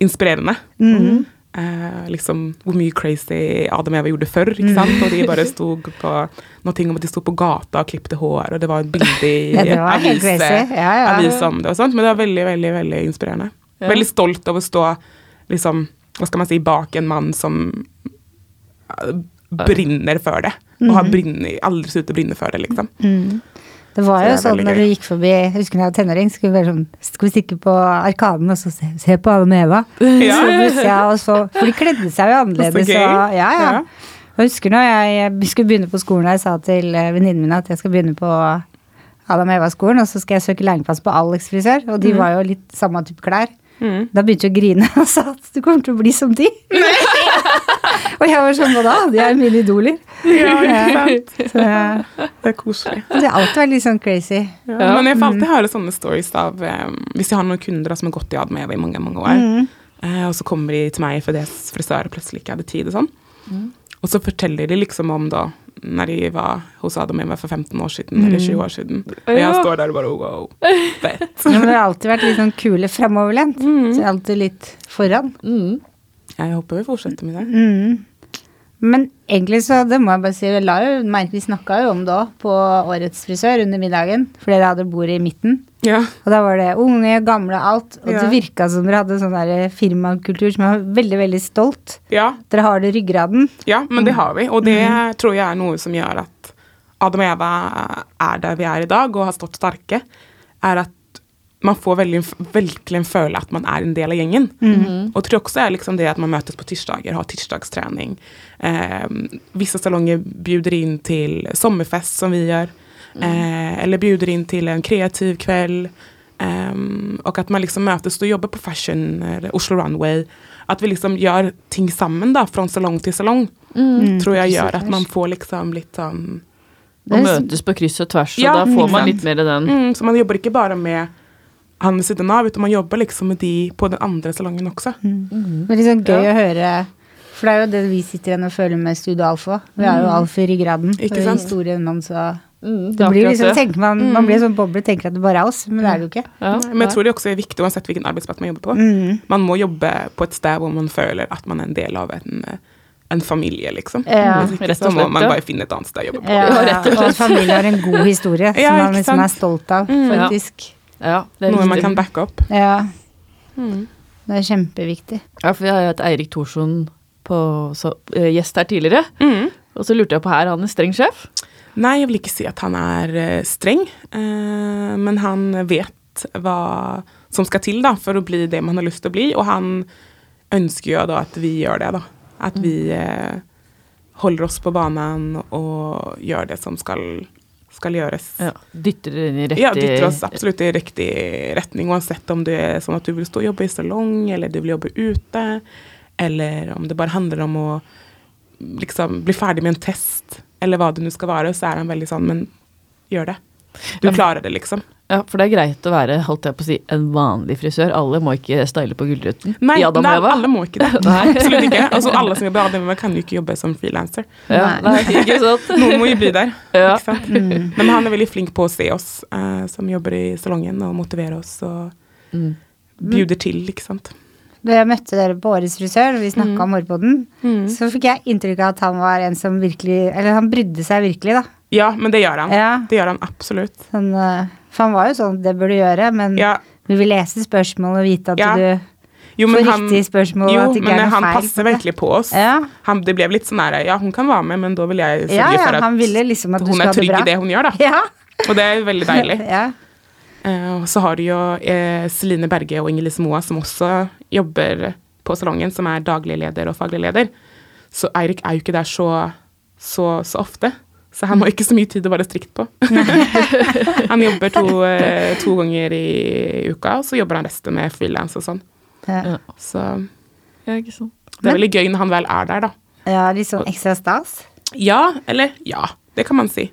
inspirerende.
Mm.
Eh, liksom hvor mye crazy Adam og Eva gjorde før, ikke
Mm.
sant? Og de bare sto på noen ting om at de sto på gata og klippte hår, og det var et bilde i
Ja, det var helt
avise-
crazy. Ja, ja.
avise om det og sånt. Men det var veldig, veldig, veldig inspirerende.
Ja.
Veldig stolt av å stå liksom, hva skal man si, bak en mann som eh, brinner for det. Og
Mhm.
har brinner, aldri sluttet å brinne for det, liksom.
Det var
Så
jo
det er
sånn
veldig
når
gøy.
du gikk forbi Jeg husker da jeg var tenåring, skulle vi være sånn Skal vi stikke på Arkaden og så se, se på Adam og Eva?
Ja.
Så møtte jeg også For de kledde seg jo annerledes.
Så gøy.
Og, ja, ja.
Ja.
Jeg husker når jeg, jeg skulle begynne på skolen, og jeg sa til eh, venninnen min at jeg skal begynne på Adam og Eva-skolen, og så skal jeg søke lærlingplass på Alex frisør, og
Mm.
de var jo litt samme type klær. Da begynte jeg å grine og sa at du kommer til å bli som de. og jeg var sånn, hva da? De er mine idoler.
Ja, ikke sant?
Så eh,
Det er koselig.
det har alltid vært litt sånn crazy.
Ja, Men jeg får alltid høre sånne stories av eh, Hvis jeg har noen kunder da, som har gått i ad med i mange mange år, eh, og så kommer de til meg fordi deres frisør plutselig ikke hadde tid og sånn. Og så forteller de liksom om da når de var hos Adam og Eva for 15 år siden eller 20 år siden. Og jeg
Ja.
står der og bare wow, fett.
Men vi har alltid vært litt sånn kule fremoverlent.
Mm.
Så vi er alltid litt foran.
Mm.
Jeg håper vi fortsetter med det.
Mm. Men egentlig så, det må jeg bare si, jeg la jo merke, vi snakka jo om det òg på Årets frisør under middagen. For dere hadde bordet i midten.
Ja.
Og da var det unge, gamle, alt. Og
Ja.
det virka som dere hadde sånn der firmakultur som jeg var veldig, veldig stolt.
ja,
Dere har det i ryggraden.
Ja, men det har vi. Og det tror jeg er noe som gjør at Adam og Eva er der vi er i dag, og har stått sterke, er at man får veldig, virkelig en føle at man er en del av gjengen. Og jeg tror også er liksom det at man møtes på tirsdager, har tirsdagstrening. Eh, visse salonger bjuder inn til sommerfest, som vi gjør. Eh, eller bjuder inn til en kreativ kveld. Ehm, og at man liksom møtes og jobber på fashion, eller Oslo Runway. At vi liksom gjør ting sammen, da, fra salong til salong.
Mm.
Tror jeg gjør at man får liksom litt sånn
Og
Det er-
møtes på kryss og tvers, og
Ja,
da får man
ikke
litt mer den
mm, Så man jobber ikke bare med han ved siden av, utan man jobber liksom med de på den andre salongen også.
Mm.
Det er litt sånn gøy å høre. For det er jo det vi sitter igjen og føler med Studio Alfa. Vi har jo Alf i ryggraden.
Mm. Ikke
og
sant?
historien om så
mm,
Det blir
akkurat
liksom,
det.
tenker man,
Mm.
man blir sånn boble, tenker at det bare er oss, men det er det jo ikke.
Ja,
Men jeg tror det også er viktig, uansett hvilken arbeidsplass man
Mm.
jobber på. Man må jobbe på et sted hvor man føler at man er en del av en, eh, en familie, liksom.
Ja,
Hvis ikke
rett
så
og
må
slett,
man
ja.
bare finne et annet sted å jobbe på.
Ja, og at familien har en god historie
Ja,
som man
ikke
liksom er
sant? Mm.
stolt av,
Ja.
faktisk.
ja, det er
Noe man
riktig.
kan backe opp.
Ja.
Mm.
Det er kjempeviktig.
Ja, for vi har jo hatt Eirik Thorsson på så, eh, gjest her tidligere.
Mm.
Og så lurte jeg på her, han er streng sjef.
Nei, jeg vil ikke si at han er eh, streng, eh, men han vet hva som skal til da, for å bli det man har lyst til å bli, og han ønsker jo da at vi gjør det. da. At vi eh, holder oss på banen og gjør det som skal, skal gjøres.
Ja, dytter det inn i riktig
Ja, dytter oss absolutt i riktig retning, uansett om det er sånn at du vil stå og jobbe i salong, eller du vil jobbe ute, eller om det bare handler om å liksom bli ferdig med en test, eller hva det nå skal være, så er han veldig sånn, men gjør det. Du klarer det, liksom.
Ja, for det er greit å være holdt jeg på å si, en vanlig frisør. Alle må ikke style på Gullruten.
Nei,
i Adam og
nei
Eva.
alle må ikke det.
Nei.
Absolutt ikke. Altså, alle som jobber i ADM, kan jo ikke jobbe som frilanser.
Ja, nei, ikke sant?
Noen må jo bli der.
Ja. Mm.
Ikke sant? Men han er veldig flink på å se oss eh, som jobber i salongen, og motivere oss og
Mm.
bjuder til, ikke sant.
Da jeg møtte dere på Årets frisør, og vi snakka
Mm.
om hårboden,
Mm.
så fikk jeg inntrykk av at han var en som virkelig Eller han brydde seg virkelig, da.
Ja, men det gjør han.
Ja.
Det gjør han absolutt.
Sånn, eh, for han var jo sånn det bør du gjøre, men
Ja.
vi vil lese spørsmål og vite at
Ja.
du
Jo,
får riktig spørsmål,
jo,
og at det ikke
men
er noe
han
feil.
passer virkelig på oss.
Ja.
Han, det ble litt sånn her Ja, hun kan være med, men da vil jeg sørge
Ja, ja,
for at,
han ville liksom at du
hun
skal
er
ha det
trygg
bra.
i det hun gjør, da.
Ja.
Og det er veldig deilig.
ja.
Eh, og så har du jo eh, Celine Berge og Inger Lise Moa, som også jobber på salongen, som er daglig leder og faglig leder. Så Eirik er jo ikke der så, så, så ofte. Så han
Mm.
har ikke så mye tid å være strikt på. han jobber to, eh, to ganger i uka, og så jobber han resten med frilans og sånn.
Ja.
Ja.
Så
ja, ikke sant.
det
Men-
er veldig gøy når han vel er der, da.
ja, litt sånn ekstra stas.
Ja, eller ja. Det kan man si.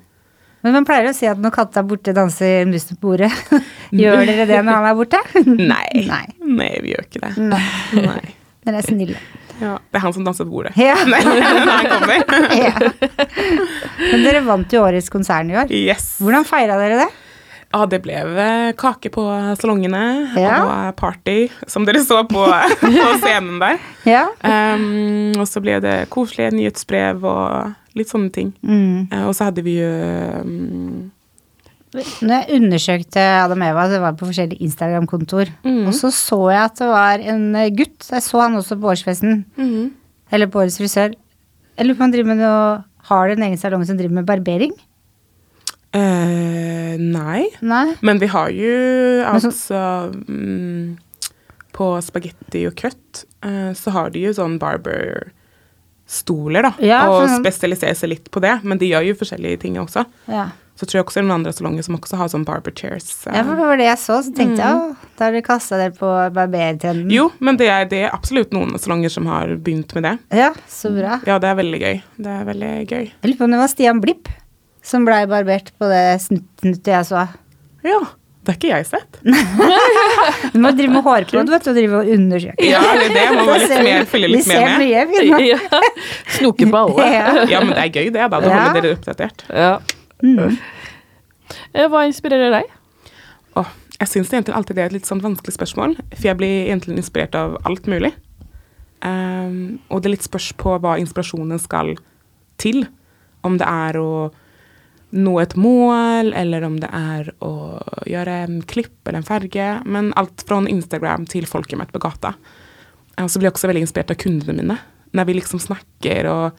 Men man pleier å si at når katta er borte, danser musen på bordet. Gjør dere det når han er borte?
Nei.
Nei.
Nei, vi gjør ikke det.
Nei.
Nei.
Dere er snille.
Ja, det er han som danser på bordet.
Ja.
Nei, når han kommer.
ja. Men dere vant jo årets konsern i år.
Yes.
Hvordan feira dere det?
Ja, det ble eh, kake på salongene
Ja.
og eh, party, som dere så på, på scenen der.
Ja.
Um, og så ble det koselige nyhetsbrev og litt sånne ting.
Mm.
Eh, og så hadde vi jo um,
Når jeg undersøkte Adam Eva, så var jeg på forskjellige Instagram-kontor.
Mm.
Og så så jeg at det var en eh, gutt. Jeg så han også på årsfesten. Eller på årets frisør. Jeg lurer på om han driver med noe Har du en egen salong som driver med barbering?
eh, Nei.
Nei?
Men vi har jo
Men så-
altså mm, På spagetti og kjøtt eh, så har de jo sånn barberstoler, da.
Ja,
og
sånn-
spesialiserer seg litt på det. Men de gjør jo forskjellige ting også.
Ja.
Så tror jeg også det er noen andre salonger som også har sånn barber chairs. eh.
ja, for det var det jeg så. Så tenkte jeg å, da har dere kasta dere på barbertrenden.
Mm. Jo, men det er, det er absolutt noen salonger som har begynt med det.
Ja, så bra.
Ja, det er veldig gøy. Det er veldig gøy.
Jeg lurer på om det var Stian Blipp som blei barbert på det snuttet jeg så.
Ja, det har ikke jeg sett.
Du må drive med hårpod, vet du, og drive og undersøke.
Ja, det, er det må man litt
ser vi-
mer, følge litt
vi ser
mer med.
mye, vi nå.
Ja. Snoke på alle.
Ja.
Ja, men det er gøy det, da. Da
Ja.
holder dere oppdatert.
Ja.
Mm.
Eh, Hva inspirerer deg?
Åh, jeg syns egentlig alltid det er et litt sånn vanskelig spørsmål, for jeg blir egentlig inspirert av alt mulig. Ehm, og det er litt spørs på hva inspirasjonen skal til. Om det er å nå et mål, eller om det er å gjøre en klipp eller en farge. Men alt fra Instagram til folket mitt på gata. Eh, Og så blir jeg også veldig inspirert av kundene mine. Når vi liksom snakker, og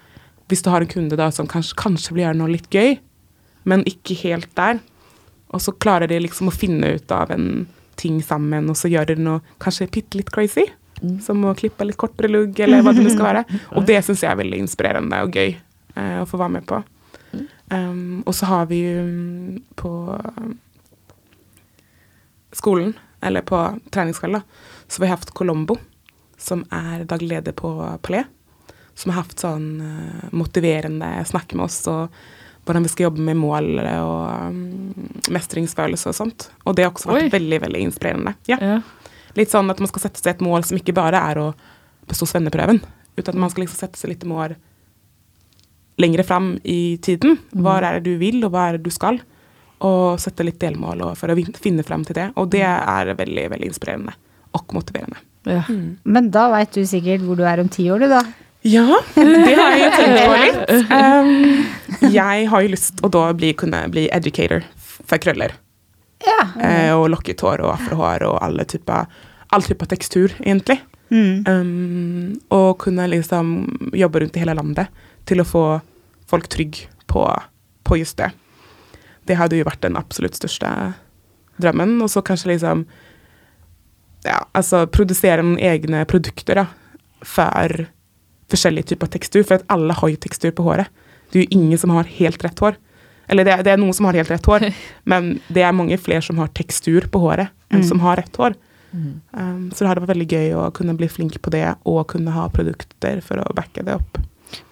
hvis du har en kunde da som kanskje, kanskje vil gjøre noe litt gøy, men ikke helt der, og så klarer de liksom å finne ut av en ting sammen, og så gjør de noe kanskje bitte litt crazy. Som å klippe litt kortere lugg, eller hva det nå skal være. Og det syns jeg er veldig inspirerende og gøy eh, å få være med på. Um, og så har vi jo um, på um, skolen, eller på treningskvelden, da, så har vi hatt Colombo, som er daglig leder på Palais. Som har hatt sånn eh, motiverende snakk med oss og hvordan vi skal jobbe med mål og um, mestringsfølelse og sånt. Og det har også vært
Oi.
veldig, veldig inspirerende. Ja.
Ja.
Litt sånn at man skal sette seg et mål som ikke bare er å bestå svenneprøven, uten at man skal liksom sette seg litt mål lengre fram i tiden. Hva er det du vil, og hva er det du skal? Og sette litt delmål og for å vin- finne fram til det. Og det er veldig, veldig inspirerende og motiverende.
Ja.
Men da veit du sikkert hvor du er om ti år, du, da.
Ja, det har jeg tenkt på litt. Um, jeg har jo lyst å da bli, kunne bli educator for krøller.
Ja.
Eh, og lokket hår og afrohår og alle typer, all typer tekstur, egentlig.
Mm.
Um, og kunne liksom jobbe rundt i hele landet til å få folk trygg på, på just det. Det hadde jo vært den absolutt største drømmen. Og så kanskje liksom ja, altså produsere noen egne produkter da, for forskjellige typer tekstur. For at alle har jo tekstur på håret. Det er jo ingen som har helt rett hår. Eller det, er- det er noen som har helt rett hår, men det er mange flere som har tekstur på håret enn som har rett hår.
Mm.
Um, så det hadde vært veldig gøy å kunne bli flink på det, og kunne ha produkter for å backe det opp.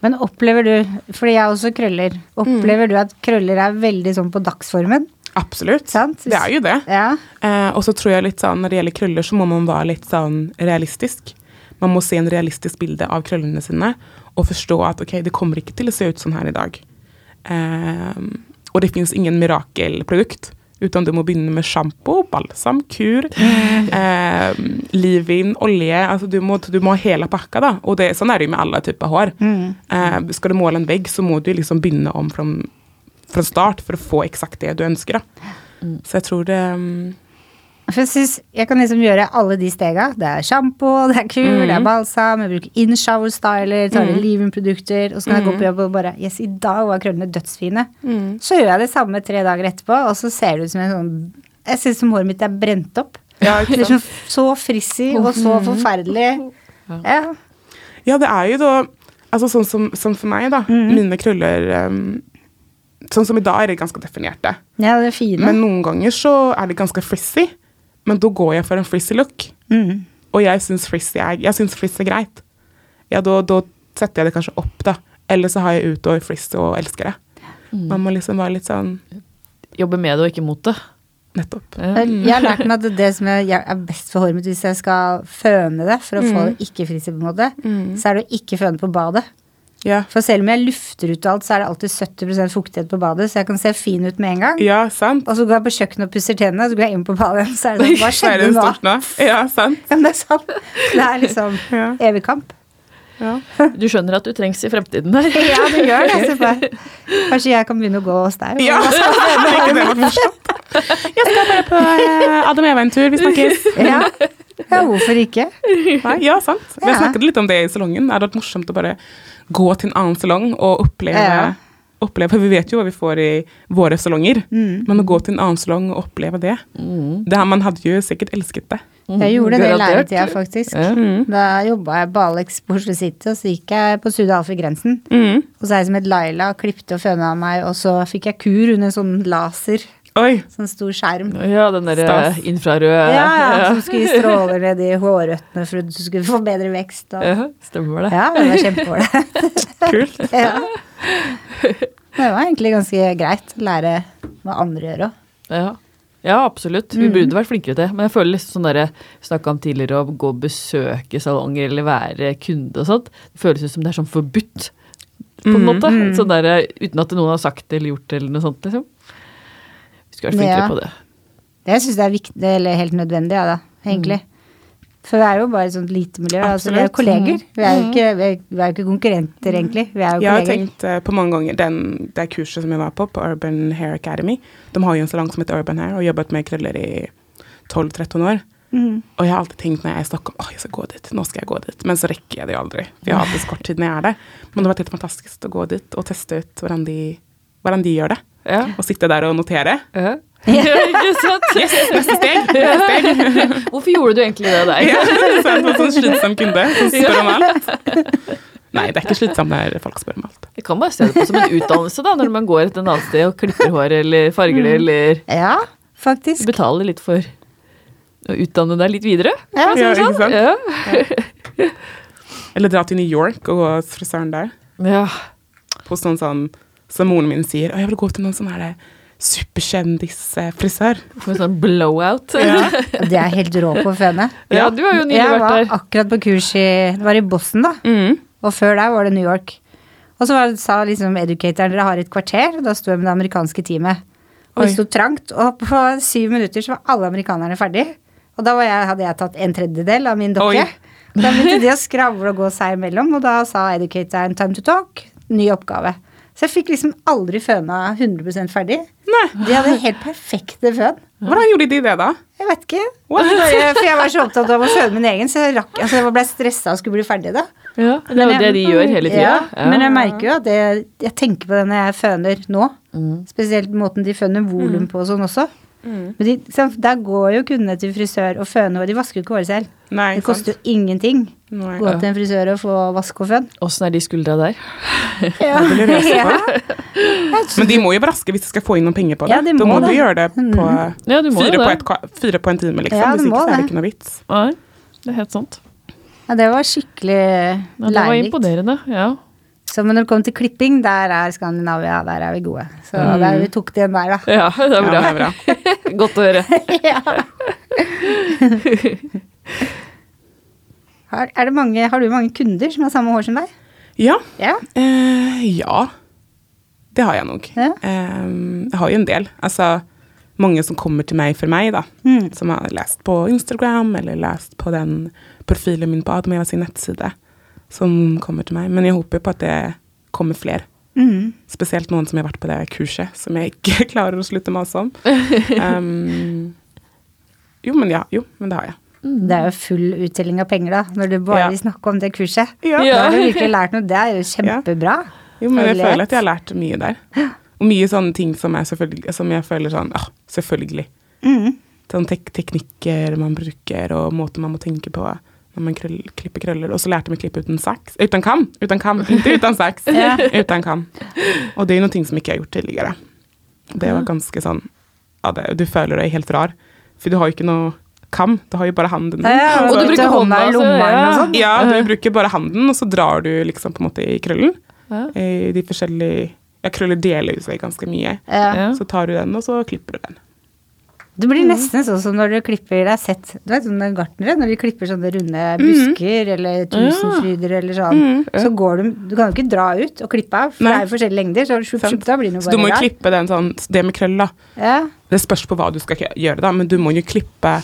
Men opplever du, fordi jeg er også krøller, opplever
Mm.
du at krøller er veldig sånn på dagsformen?
Absolutt.
Sant?
Det er jo det.
Ja.
Eh, og så tror jeg litt sånn, når det gjelder krøller, så må man være litt sånn realistisk. Man må se en realistisk bilde av krøllene sine, og forstå at ok, det kommer ikke til å se ut sånn her i dag. Eh, og det finnes ingen mirakelprodukt, uten du må begynne med sjampo, balsam, kur, eh, livin, olje, altså du må, du må ha hele pakka da. Og det, sånn er det jo med alle typer hår.
Mm.
Eh, skal du måle en vegg, så må du liksom begynne om fra, fra start for å få eksakt det du ønsker da. Så jeg tror det... mm,
For jeg synes, jeg kan liksom gjøre alle de stega. Det er sjampo, det er kur, det er
Mm.
balsam, jeg bruker in-shower styler, tar mm. livenprodukter, og så kan jeg gå
Mm.
på jobb og bare Yes, Mm. i dag var krøllene dødsfine. Så gjør jeg det samme tre dager etterpå, og så ser det ut som en sånn Jeg ser ut som håret mitt er brent opp.
Ja,
Det
ikke
er
sant?
så, så frizzy og så forferdelig. Ja.
ja, det er jo da Altså sånn som, som for meg, da. Mine krøller ehm, Sånn som i dag er de ganske definerte.
ja, det er fine.
Men noen ganger så er de ganske frizzy. Men da går jeg for en frizzy look.
Mm.
Og jeg syns frizzy er, jeg syns frizz er greit. Ja, da, da setter jeg det kanskje opp, da. Eller så har jeg utover frizz og elsker det. Man må liksom være litt sånn
Jobbe med det og ikke mot det.
Nettopp.
Ja.
Jeg har lært meg at det som jeg jeg er best for håret mitt hvis jeg skal føne det for å få
Mm.
det ikke frizzy, på en måte, så er det å ikke føne på badet.
Ja,
For selv om jeg lufter ut alt, så er det alltid 70 fuktighet på badet, så jeg kan se fin ut med en gang.
ja sant.
Og så går jeg på kjøkkenet og pusser tennene, så går jeg inn på badet igjen, så er det sånn Hva
Så er
skjedde
det en
nå?
stort nå. Ja, sant.
Ja, men det er sant. Det er liksom
Ja.
evig kamp.
Ja.
Du skjønner at du trengs i fremtiden her.
Ja, det gjør det. Se på her. Kanskje jeg kan begynne å gå hos deg.
Ja, men ikke det var forstått. Jeg skal bare på eh, Adam Eva-en-tur, vi snakkes.
Ja. ja, hvorfor ikke?
Nei, ja, sant. Vi
Ja.
snakket litt om det i salongen. Det hadde vært morsomt å bare gå til en annen salong og oppleve,
Ja.
oppleve For vi vet jo hva vi får i våre salonger,
Mm.
men å gå til en annen salong og oppleve det,
Mm.
det Man hadde jo sikkert elsket det.
Jeg gjorde det i
Garantert.
læretida, faktisk.
Ja.
Da jobba jeg på Alex på Oslo City, og så gikk jeg på Sud Alfred-grensen.
Mm.
Og så er jeg som het Laila, klippte og føna meg, og så fikk jeg kur under en sånn laser,
Oi!
sånn stor skjerm.
Ja, den derre
Stas.
Ja,
infrarøde
ja, som skulle gi stråler ned i hårrøttene for at du skulle få bedre vekst. Og.
Ja, Stemmer det.
Ja, det var kjempeålreit.
Kult.
Ja. Det var egentlig ganske greit å lære hva andre gjør òg.
Ja, ja absolutt.
Mm.
Vi burde vært flinkere til det. Men jeg føler liksom sånn derre Snakka om tidligere å gå og besøke salonger eller være kunde og sånt. Det føles ut som det er sånn forbudt, på en
Mm,
måte. Sånn derre uten at noen har sagt det eller gjort det eller noe sånt, liksom. Vi skulle vært flinkere
Ja.
på det.
Jeg syns det er viktig, eller helt nødvendig, ja da, egentlig. For vi er jo bare et sånt lite miljø. Altså, vi er jo
Mm. Absolutt. Mm.
kolleger. Vi er jo ikke, vi er, vi er jo ikke konkurrenter, egentlig. Vi er jo
Jeg har
kolleger.
tenkt eh, på mange ganger den, det kurset som jeg var på, på Urban Hair Academy. De har jo en salong som heter Urban Hair, og jobbet med krøller i 12-13 år. Og jeg har alltid tenkt når jeg er i Stockholm, åh, jeg skal gå dit, nå skal jeg gå dit. Men så rekker jeg det jo aldri. For jeg har alltid så kort tid når jeg er der. Men det har vært helt fantastisk å gå dit og teste ut hvordan de, hvordan de gjør det.
Ja.
Og sitte der og notere.
ja. ja ikke sant?
Neste steg! Neste steg.
Hvorfor gjorde du egentlig det der?
Ja, sånn, sånn slitsom kunde som spør om alt. Nei, det er ikke slitsomt når folk spør om alt.
Jeg kan bare se det på som en utdannelse, da, når man går et annet sted og klipper hår eller farger det, eller
Ja, faktisk.
betaler litt for å utdanne deg litt videre.
Ja,
Ja, ikke sant?
Ja.
Eller dra til New York og gå hos frisøren der.
ja.
Hos noen sånn som moren min sier, «Å, jeg vil gå til noen sånn her eh, superkjendisfrisør.
Med sånn blowout.
Ja.
Det er jeg helt rå på å føne.
Ja, du har jo nylig
Jeg
vært
var
der.
akkurat på kurs i Det var i Boston, da.
Mm.
Og før der var det New York. Og så var, sa liksom educatoren dere har et kvarter. og Da sto jeg med det amerikanske teamet. Og
Oi.
det sto trangt, og på syv minutter så var alle amerikanerne ferdig. Og da var jeg, hadde jeg tatt en tredjedel av min dokke.
Oi.
Da begynte de å skravle og gå seg imellom, og da sa educatoren 'time to talk', ny oppgave. Så jeg fikk liksom aldri føna 100 ferdig.
Nei,
De hadde helt perfekte føn.
hvordan gjorde de det da?
Jeg vet ikke.
What?
Bare- For jeg var så opptatt av å føde min egen, så jeg, rakk, altså jeg ble stressa og skulle bli ferdig da.
Ja, det er jo det de gjør hele tida.
Ja, Men jeg merker jo at det, jeg tenker på det når jeg føner nå.
Mm.
Spesielt måten de føner volum på og sånn også. Men de, ikke sant, der går jo kundene til frisør og føner, og de vasker jo ikke håret selv.
Nei,
Det
ikke sant?
koster jo ingenting.
Nei.
Gå til en frisør og få vask og føn.
Åssen er de skuldra der?
Ja.
Det lurer jeg
Ja.
også på. Men de må jo braske hvis de skal få inn noen penger på det.
Ja, de
da
må
må
det. Mm.
de gjøre det på
Ja, du må
fire,
jo
på
det.
et, kva- fire på en time, liksom.
Ja, de
hvis ikke
må
så er det
det.
ikke noe vits.
Nei, det er helt sant.
det var skikkelig
Ja, det var
lærerikt.
imponerende. Ja.
Så men når det kommer til klipping, der er Skandinavia, der er vi gode. Så
Mm.
der, vi tok det igjen der, da.
ja, det er
Ja,
bra.
det er bra.
Godt å høre.
Har, er det mange, har du mange kunder som har samme hår som deg?
Ja,
Ja.
Eh, ja. Det har jeg nok.
Ja.
Eh, jeg har jo en del. Altså, mange som kommer til meg for meg, da.
Mm.
Som har lest på Instagram, eller lest på den profilen min på Admira sin nettside. Som kommer til meg. Men jeg håper på at det kommer flere.
Mm.
Spesielt noen som har vært på det kurset, som jeg ikke klarer å slutte mase om. Um, jo, men ja, jo, men det har jeg.
Det er jo full uttelling av penger, da, når du bare
Ja.
snakker om det kurset.
Ja.
Da har du virkelig lært noe. Det er jo kjempebra.
Jo, men jeg
Herlighet.
føler at jeg har lært mye der. Og mye sånne ting som, er selvfølgelig- som jeg føler sånn, ah, selvfølgelig.
Mm.
Sånn tek teknikker man bruker, og måter man må tenke på når man krøll, klipper krøller. Og så lærte vi å klippe uten saks. Uten kam! Uten kam, ikke uten saks.
Ja.
Uten kam. Og det er jo noe som ikke jeg har gjort tidligere. Det var ganske sånn ja, det, Du føler deg helt rar, for du har jo ikke noe kam. Du har jo bare handen din.
Ja,
Og du
brukte
bruker
hånda i sånn.
hånda, så-
lomma eller noe
ja.
sånt.
Ja, du bruker bare handen, og så drar du liksom på en måte i krøllen.
Ja.
I de forskjellige Ja, krøller deler jo seg ganske mye.
Ja.
Ja.
Så tar du den, og så klipper du den.
Det blir nesten sånn som når du klipper deg sett Du vet sånne gartnere, når de klipper sånne runde busker eller tusenfryder eller sånn,
Mm.
så går du Du kan jo ikke dra ut og klippe av, for
Nei.
det er jo forskjellige lengder, så sjup, sjup, da blir det jo
Så du
bare
må jo
rart.
klippe den sånn Det med krøll, da.
Ja.
Det spørs på hva du skal k- gjøre, da, men du må jo klippe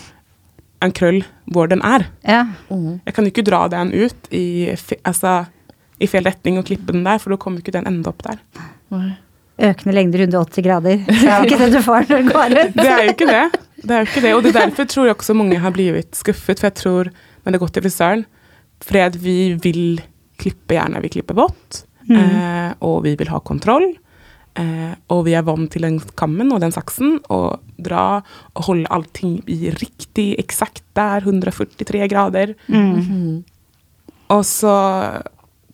en krøll hvor den er.
Ja.
Mm.
Jeg kan jo ikke dra den ut i, fe- altså, i feil retning og klippe den der, for da kommer jo ikke den enda opp der.
Nei.
Økende lengder 180 grader. Det er jo ikke det du får når du går ut.
Det er jo ikke det. Det er jo ikke det. Og det er derfor tror jeg også mange har blitt skuffet, for jeg tror når det har gått til frisøren Fordi at vi vil klippe gjerne vi klipper vått, eh, og vi vil ha kontroll. Eh, og vi er vant til den kammen og den saksen, og dra og holde allting i riktig eksakt der, 143 grader.
Mm.
Mm.
Og så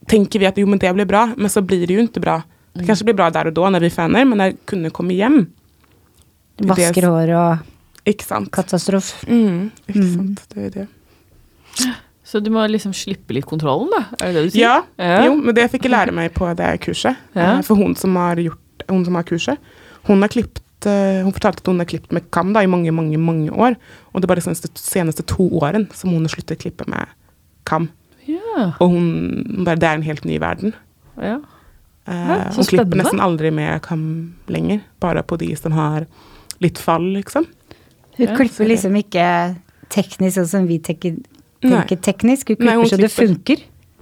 tenker vi at jo, men det blir bra, men så blir det jo ikke bra. Det kanskje blir bra der og da når vi faner, men jeg kunne komme hjem.
Du vasker hår og
Ikke sant.
katastrofe.
Mm, ikke sant, det er det.
Så du må liksom slippe litt kontrollen, da? Er det det du sier?
Ja,
Ja.
jo, men det fikk jeg lære meg på det kurset.
Ja.
Eh, For hun som har gjort hun som har kurset, hun har klippt eh, hun fortalte at hun har klippet med kam da, i mange mange, mange år. Og det er bare de seneste, seneste to årene som hun har sluttet å klippe med kam.
Ja.
Og hun hun bare, det er en helt ny verden.
ja.
Eh,
Ja, så
hun klipper
spennende.
nesten aldri med kam lenger. Bare på de som har litt fall, liksom.
Hun
Ja,
klipper liksom ikke teknisk sånn som vi tenker,
Nei.
tenker teknisk. Hun
Nei, hun
klipper så det
klipper.
funker.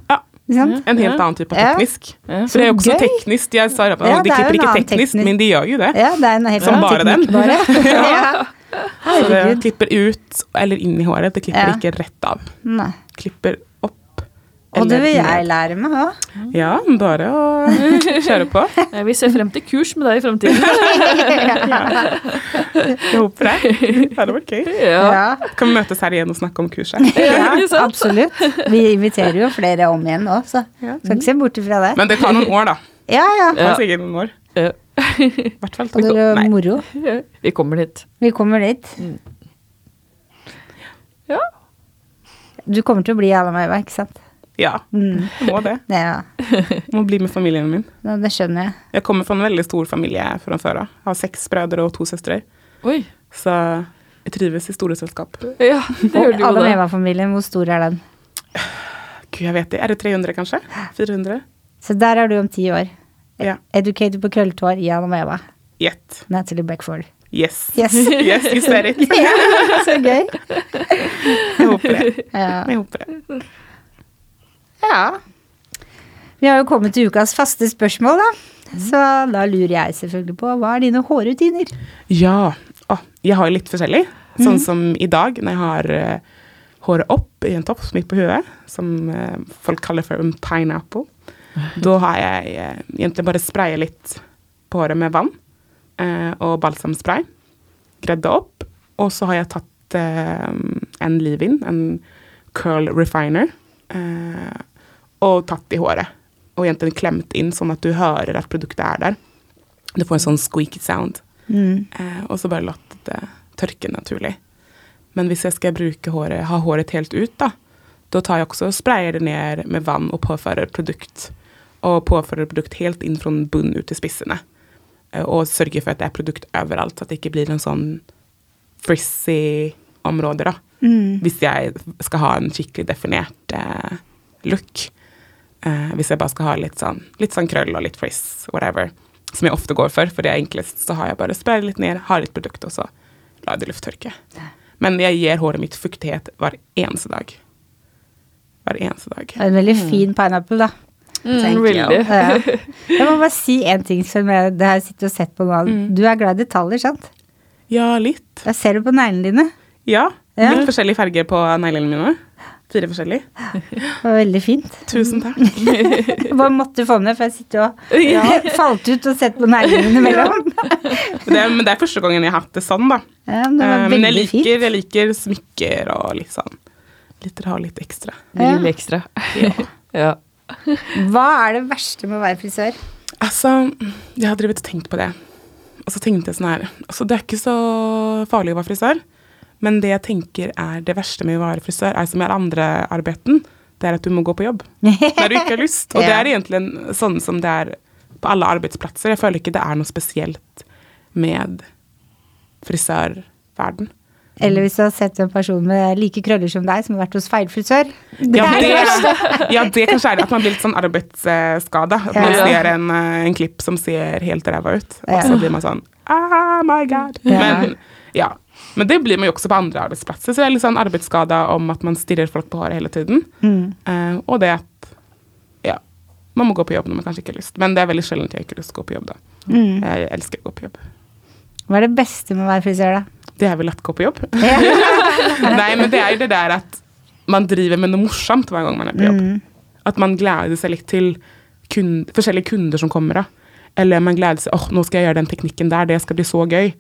Ja.
Ikke sant?
En helt
Ja.
annen type
Ja.
teknisk.
Ja.
For det er jo også
Så gøy.
teknisk. Jeg sa, at,
Ja,
de
det er jo en
klipper ikke
annen
teknisk,
teknisk-
men de gjør jo det.
Ja, det er en helt
Som
annen
bare den.
teknikk bare. ja.
Så det
Herregud.
klipper ut eller inn i håret. Det klipper
Ja.
ikke rett av.
Nei.
Klipper opp.
Og det
eller
vil jeg
ned.
lære meg òg.
Ja, bare å kjøre på.
Jeg vil se Eh, frem til kurs med deg i fremtiden.
Jeg håper det. Det hadde vært gøy.
Ja.
Ja,
Kan vi møtes her igjen og snakke om kurset?
Ja, ikke sant?
absolutt. Vi inviterer jo flere om igjen nå, så
Ja.
skal ikke se bort ifra det.
Men det tar noen år, da.
Ja, ja.
Det tar sikkert noen år.
Ja.
I hvert fall
Og det
to.
er
Nei.
moro.
Vi kommer dit.
Vi kommer dit.
Ja.
Du kommer til å bli Anna Maiva, ikke sant?
Ja,
Mm.
jeg må det.
Ja,
Jeg Må bli med familien min.
ja. det skjønner jeg.
Jeg kommer fra en veldig stor familie fra før av. Jeg Har seks brødre og to søstre.
Oi.
Så jeg trives i store selskap. Gud,
Ja, det
Og
gjør du jo
Anna
da.
Maiva-familien, hvor stor er den?
jeg vet det. Er det 300, kanskje? 400?
Så der er du om ti år. E-
Ja.
Educated på krøllete hår i Anna Maiva.
Gjett.
Natalie Beckford.
Yes.
Yes.
Yes, you said it.
Så gøy.
Jeg håper det.
Ja.
Jeg håper det.
Ja. Vi har jo kommet til ukas faste spørsmål, da. Så da lurer jeg selvfølgelig på hva er dine hårrutiner?
Ja. Å, jeg har jo litt forskjellig. Sånn som i dag, når jeg har eh, håret opp i en topp midt på hodet, som eh, folk kaller for en pineapple, da har jeg eh, egentlig bare spraya litt på håret med vann eh, og balsamspray. Gredde opp. Og så har jeg tatt eh, en leave-in, en curl refiner, eh, og tatt i håret. Og egentlig klemt inn, sånn at du hører at produktet er der. Du får en sånn squeaky sound.
Mm.
Eh, og så bare latt det tørke naturlig. Men hvis jeg skal bruke håret, ha håret helt ut, da, da tar jeg også og sprayer det ned med vann og påfører produkt. Og påfører produkt helt inn fra bunnen ut til spissene. Eh, og sørger for at det er produkt overalt, så at det ikke blir en sånn frizzy område, da. Hvis jeg skal ha en skikkelig definert eh, look. Eh, hvis jeg bare skal ha litt sånn, litt sånn krøll og litt frizz, whatever. Som jeg ofte går for, for det er enklest. Så har jeg bare sprayet litt ned, har litt produkt, og så lar jeg det lufttørke. Men jeg gir håret mitt fuktighet hver eneste dag. Hver eneste dag.
Det er En veldig fin pineapple, da.
Mm,
Thank
veldig.
you. Ja. Jeg må bare si én ting som jeg det har jeg sittet og sett på nå. Du er glad i detaljer, sant?
Ja, litt.
Jeg ser det på neglene dine.
Ja.
Ja.
Litt forskjellige farger på neglene mine. Fire forskjellige.
Det var veldig fint.
Tusen takk.
Bare måtte få med, for jeg sitter og
Ja.
falt ut og sett på neglene innimellom.
Det, men det er første gangen jeg har hatt det sånn, da.
Ja, men det
Eh,
var
Men jeg
veldig
liker,
fint.
jeg liker smykker og litt sånn Litt ha litt ekstra.
Det
Ja.
lille ekstra. ja.
Hva er det verste med å være frisør?
Altså, jeg har drevet og tenkt på det. Og så tenkte jeg sånn her altså, Det er ikke så farlig å være frisør, men det jeg tenker er det verste med å være frisør, er som i alle andre arbeidet, det er at du må gå på jobb når du ikke har lyst. Og det
Ja.
er egentlig en- sånn som det er på alle arbeidsplasser. Jeg føler ikke det er noe spesielt med frisørverden.
Eller hvis du har sett en person med like krøller som deg, som har vært hos feil frisør.
Ja,
er det
det, ja, det kanskje er det. At man blir litt sånn arbeidsskada. At man
Ja.
ser en, eh, en klipp som ser helt ræva ut, og
Ja.
så blir man sånn Oh my god.
Ja.
Men, ja. Men det blir man jo også på andre arbeidsplasser. Så det er litt sånn arbeidsskada om at man stirrer folk på håret hele tiden.
Mm.
Eh, og det at ja, man må gå på jobb når man kanskje ikke har lyst. Men det er veldig sjelden jeg ikke har lyst til å gå på jobb, da. Jeg elsker å gå på jobb.
Mm. Hva er det beste med å være frisør, da?
Det er vel lett å gå på jobb.
Ja.
Nei, men det er jo det der at man driver med noe morsomt hver gang man er på
Mm.
jobb. At man gleder seg litt til kund, forskjellige kunder som kommer. Da. Eller man gleder seg åh, nå skal jeg gjøre den teknikken der, det skal bli så gøy.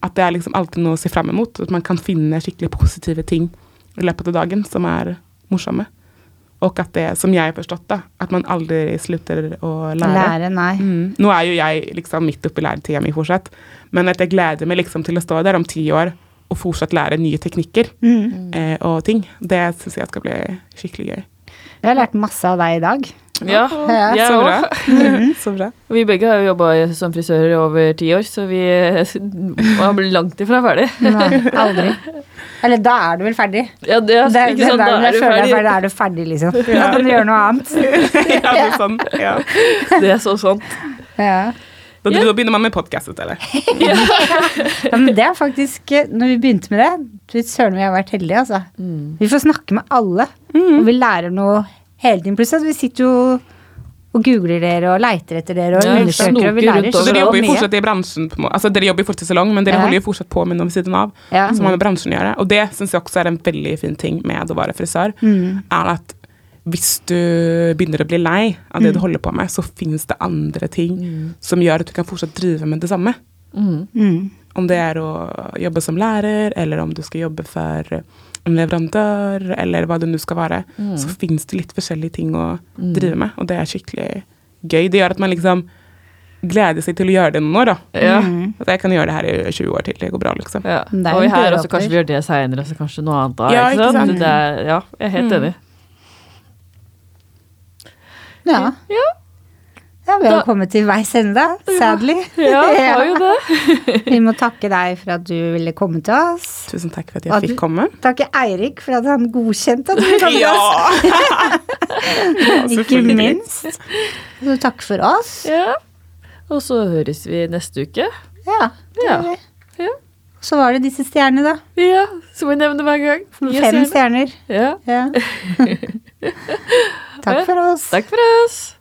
At det er liksom alltid noe å se fram imot. At man kan finne skikkelig positive ting i løpet av dagen som er morsomme. Og at det, som jeg har forstått, da, at man aldri slutter å lære.
Lære, nei.
Mm. Nå er jo jeg liksom midt oppi læretida mi fortsatt, men at jeg gleder meg liksom til å stå der om ti år og fortsatt lære nye teknikker
Mm.
eh, og ting, det syns jeg skal bli skikkelig gøy.
Jeg har lært masse av deg i dag.
ja.
Ja,
jeg
så,
også.
bra. så bra.
Vi begge har jo jobba som frisører i over ti år, så vi var langt ifra ferdig.
Nei, aldri. Eller da er du vel ferdig?
Ja, det,
Det,
er
det,
ikke sånn,
det,
da er
jeg
du
føler jeg
ferdig.
bare da er du ferdig, liksom. Da kan du gjøre noe annet.
ja, det er sånn. Ja.
Det er så sant.
Ja.
Da,
Ja.
da begynner man med podkastet, eller?
Ja, men det er faktisk eh, Når vi begynte med det, fy søren vi har vært heldige, altså.
Mm.
Vi får snakke med alle, og vi lærer noe hele tiden. Pluss at vi sitter jo og googler dere og leiter etter dere og
Ja,
undersøker, og vi
snoker
lærer
rundt
Så
over
dere
så
overalt
jobber jo
mye.
fortsatt i bransjen. På, en må- altså, dere jobber jo fortsatt i salong, men dere
Ja.
holder jo fortsatt på med noe ved siden av.
Ja.
Som har med bransjen å gjøre. Og det syns jeg også er en veldig fin ting med å være frisør.
Mm.
Er at hvis du begynner å bli lei av det du holder på med, så finnes det andre ting som gjør at du kan fortsatt drive med det samme.
Mm.
Om det er å jobbe som lærer, eller om du skal jobbe for en leverandør, eller hva det nå skal være, så fins det litt forskjellige ting å drive med, og det er skikkelig gøy. Det gjør at man liksom gleder seg til å gjøre det noen år, da. Mm.
Ja.
At jeg kan gjøre det her i 20 år til, det går bra, liksom.
Ja.
Men det er
Og
jo
vi her
døråpner.
også, kanskje vi gjør det seinere, så kanskje noe annet da.
Ja,
ikke
ikke
sant?
sant?
Det er, ja, jeg er
Mm.
helt enig.
Ja.
Ja,
ja, vi har
Da-
kommet til veis ende, da, sadly.
ja, det var jo det.
Vi må takke deg for at du ville komme til oss.
Tusen takk for at
At
jeg
du-
fikk komme.
Takke Eirik for at han godkjente at du kom til oss,
Ja!
ikke
selvfølgelig.
minst. Så takk for oss.
Ja. Og så høres vi neste uke.
Ja, det
Ja.
gjør vi.
Ja.
Så var det disse stjernene, da.
Ja, som jeg nevner hver gang. Gi oss
Fem
gjerne-
stjerner.
Ja.
Ja. Takk for oss.
Takk for oss.